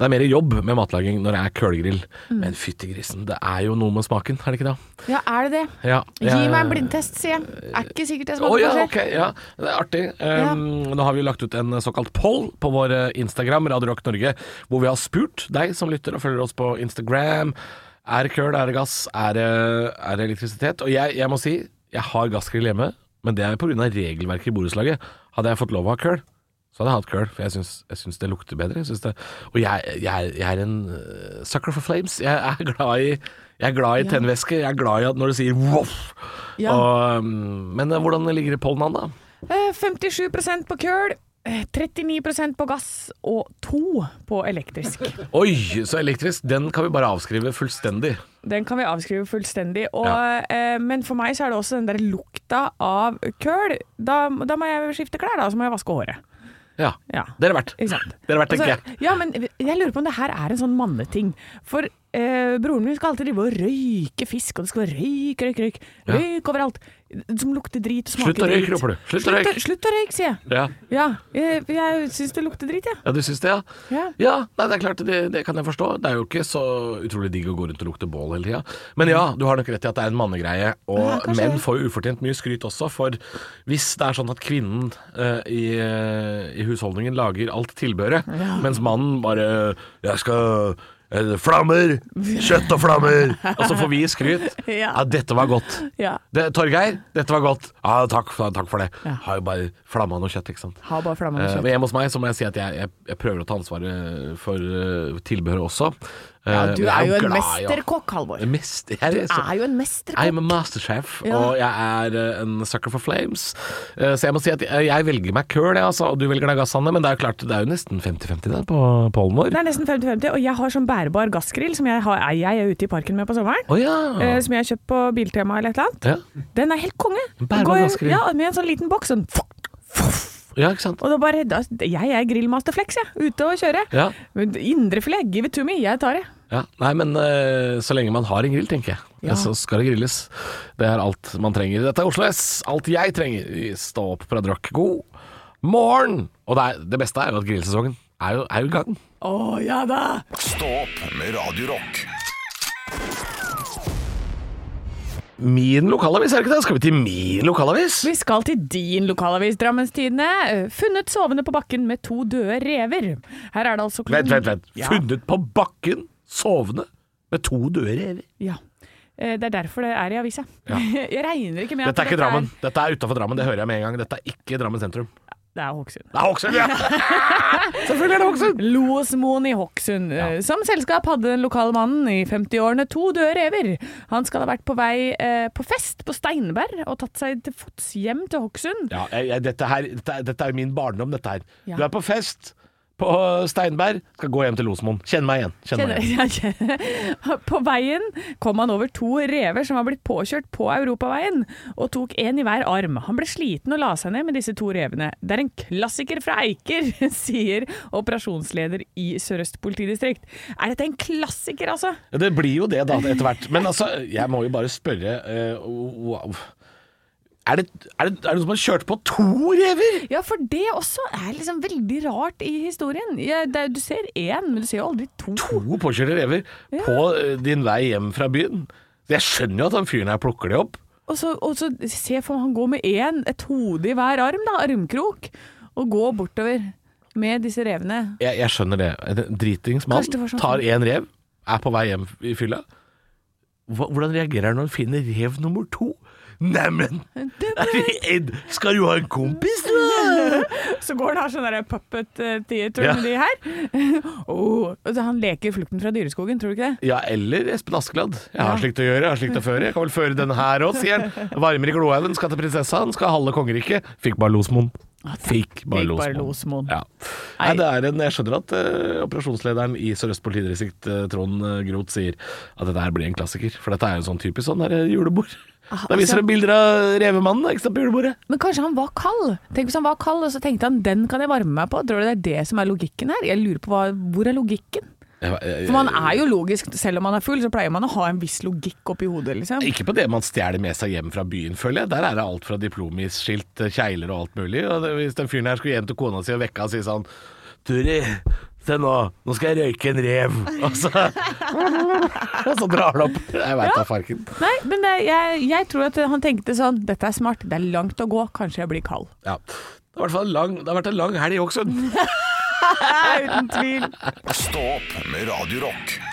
Det er mer jobb med matlaging når det er kølgrill. Mm. Men fytti grisen, det er jo noe med smaken, er det ikke det? Ja, er det det? Ja, Gi jeg- meg en blindtest, sier jeg. Er ikke sikkert jeg Å smaker ja, forskjell. ok. Ja. Det er artig. Um, Nå har vi jo lagt ut en såkalt poll på vår eh, Instagram, Radio Rock Norge, hvor vi har spurt deg som lytter og følger oss på Instagram. Er det køl, er det gass, er det, er det elektrisitet? Og jeg, jeg må si, jeg har gassgrill hjemme, men det er pga. regelverket i borettslaget. Hadde jeg fått lov å ha køl, så hadde jeg hatt køl, for jeg syns, jeg syns det lukter bedre. Jeg syns det, og jeg, jeg, jeg er en eh, sucker for flames. Jeg er glad i, jeg er glad i tennvæske. Jeg er glad i at når det sier voff Ja. og, um, Men eh, hvordan ligger det på den an, da? Eh, 57 på køl, eh, 39 på gass og 2 på elektrisk. Oi, så elektrisk. Den kan vi bare avskrive fullstendig. Den kan vi avskrive fullstendig. Og, eh, men for meg så er det også den der lukta av køl. Da, da må jeg skifte klær, da. Så må jeg vaske håret. Ja. Ja. Det er det verdt. Ikke sant? Det er det verdt, tenker jeg. Altså, Ja, men jeg lurer på om det her er en sånn manneting. For eh, broren min skal alltid drive og røyke fisk, og det skal være røyk, røyk, røyk. Ja. Røyk overalt. Som lukter drit og smaker Slutt å røyke, drit. roper du. Slutt å røyke. Slutt å røyke, sier jeg. Ja. Ja, jeg, jeg syns det lukter drit, jeg. ja, du syns det, ja? Ja. Ja, nei, det er klart, det, det kan jeg forstå. Det er jo ikke så utrolig digg å gå rundt og lukte bål hele tida. Men ja, du har nok rett i at det er en mannegreie. Og menn får jo ufortjent mye skryt også, for hvis det er sånn at kvinnen eh, i, eh, i husholdningen lager alt tilbehøret, mens mannen bare 'Jeg skal eh, Flammer! Kjøtt og flammer!' Og så får vi skryt. Ja. Ja, dette var godt. Ja. Det, Torgeir, dette var godt. Ja, takk, takk for det. Har jo bare flamma noe kjøtt, ikke sant. Har bare flamma Eh, kjøtt. Men hjemme hos meg så må jeg si at jeg, jeg, jeg prøver å ta ansvaret for eh, tilbehøret også. Eh, Ja, du men jeg er jo en glad i å- mesterkokk, Halvor. Du Mest, jeg, er så- er jo en mesterkokk. I'm a masterchef, Ja. og jeg er eh, en sucker for flames. Eh, Så jeg må si at jeg, jeg velger meg køl, jeg, altså, og du velger deg gass, Hanne. Men det er jo klart, det er jo nesten 50-50 der på pollen vår. Det er nesten 50-50, og jeg har sånn bærbar gassgrill som jeg, har, jeg er ute i parken med på sommeren. Å ja. eh, Som jeg har kjøpt på Biltema eller et eller annet. ja. Den er helt konge. En bærbar Går- gassgrill. Ja, med en sånn liten boks. Sånn. Ja, ikke sant. Og da bare da, Jeg er grillmaster flex, jeg. Ute og kjøre. Ja. Men Indrefilet, give it to me. Jeg tar det. Ja, nei, men eh, så lenge man har en grill, tenker jeg. Ja. Så skal det grilles. Det er alt man trenger. Dette er Oslo S. Alt jeg trenger. i Stå opp på Radio Rock. God morgen! Og det, er, det beste er jo at grillsesongen er jo, er jo i gang. Å ja da! Stå opp med Radio Rock. Min lokalavis, er det ikke det? Skal vi til min lokalavis? Vi skal til din lokalavis, Drammenstidene. Funnet sovende på bakken med to døde rever. Her er det altså Vent, vent, vent. Ja. Funnet på bakken, sovende, med to døde rever. Ja. Eh, Det er derfor det er i avisa. Jeg regner ikke med at Dette er ikke dette Drammen. Dette er utafor Drammen, det hører jeg med en gang. Dette er ikke Drammen sentrum. Det er Hokksund. Det er Hokksund, ja! Selvfølgelig er det Hokksund! Losmoen i Hokksund. Eh, Som selskap hadde den lokale mannen i 50-årene to døde rever. Han skal ha vært på vei eh, på fest på Steinberg og tatt seg til fots hjem til Hokksund. Ja, jeg, jeg, dette, her, dette, er- dette er jo min barndom, dette her. Ja. Du er på fest på Steinberg, skal gå hjem til Losmoen. Kjenn meg igjen. Kjenn Kjenner- meg igjen. Ja, kjenner- På veien kom han over to rever som var blitt påkjørt på europaveien, og tok en i hver arm. Han ble sliten og la seg ned med disse to revene. Det er en klassiker fra Eiker, sier operasjonsleder i Sør-Øst politidistrikt. Er dette en klassiker, altså? Ja, Det blir jo det, da, etter hvert. Men altså, jeg må jo bare spørre eh, wow. er, det, er, det, er det noen som har kjørt på to rever? Ja, for det også er liksom veldig rart i historien. Ja, det, er- du ser én, men du ser jo aldri to. To påkjørte rever på eh, din vei hjem fra byen. Så Jeg skjønner jo at han fyren her plukker de opp. Og så, og så se for han går med én, et hode i hver arm, da, armkrok, og går bortover med disse revene. Jeg, jeg skjønner det. En dritings mann Kanskje det var sånn- tar én rev, er på vei hjem i fylla. Hva- Hvordan reagerer han når han finner rev nummer to? Neimen, Ed, skal du ha en kompis, du? Så går han og har sånn der puppet eh, theater Ja. med de her. Åh, og så han leker Flukten fra dyreskogen, tror du ikke det? Ja, eller Espen Askeladd. Jeg har slikt å gjøre, jeg har slikt å føre. Jeg kan vel føre denne her òg, sier han. Varmer i glohaugen, skal til prinsessa, han skal halve kongeriket. Fikk bare Losmoen. Fikk bare Fikk bare Losmoen. Losmoen. Ja. Nei, det er en, jeg skjønner at eh, operasjonslederen i Sør-Øst politidistrikt, eh, Trond eh, Groth, sier at dette her blir en klassiker. For dette er jo sånn typisk sånn der, eh, julebord. Ah, Da altså- viser de bilder av revemannen ikke sant, på julebordet. Men kanskje han var kald? Tenk hvis han var kald, og så tenkte han den kan jeg varme meg på. Tror du det er det som er logikken her? Jeg lurer på hva, hvor er logikken? For man er jo logisk, selv om man er full, så pleier man å ha en viss logikk oppi hodet, liksom. Ikke på det man stjeler med seg hjem fra byen, føler jeg. Der er det alt fra eh, diplomisskilt, kjegler og alt mulig. Og det- hvis den fyren her skulle hjem til kona si og vekke henne og si sånn Turi, Se nå, nå skal jeg røyke en rev. Og så, og så drar han opp. Jeg veit da Ja. farken. Nei, men det, jeg, jeg tror at han tenkte sånn Dette er smart, det er langt å gå, kanskje jeg blir kald. Ja. Det, har i hvert fall lang, det har vært en lang helg i Hokksund. Uten tvil. Stå opp med Radio Rock.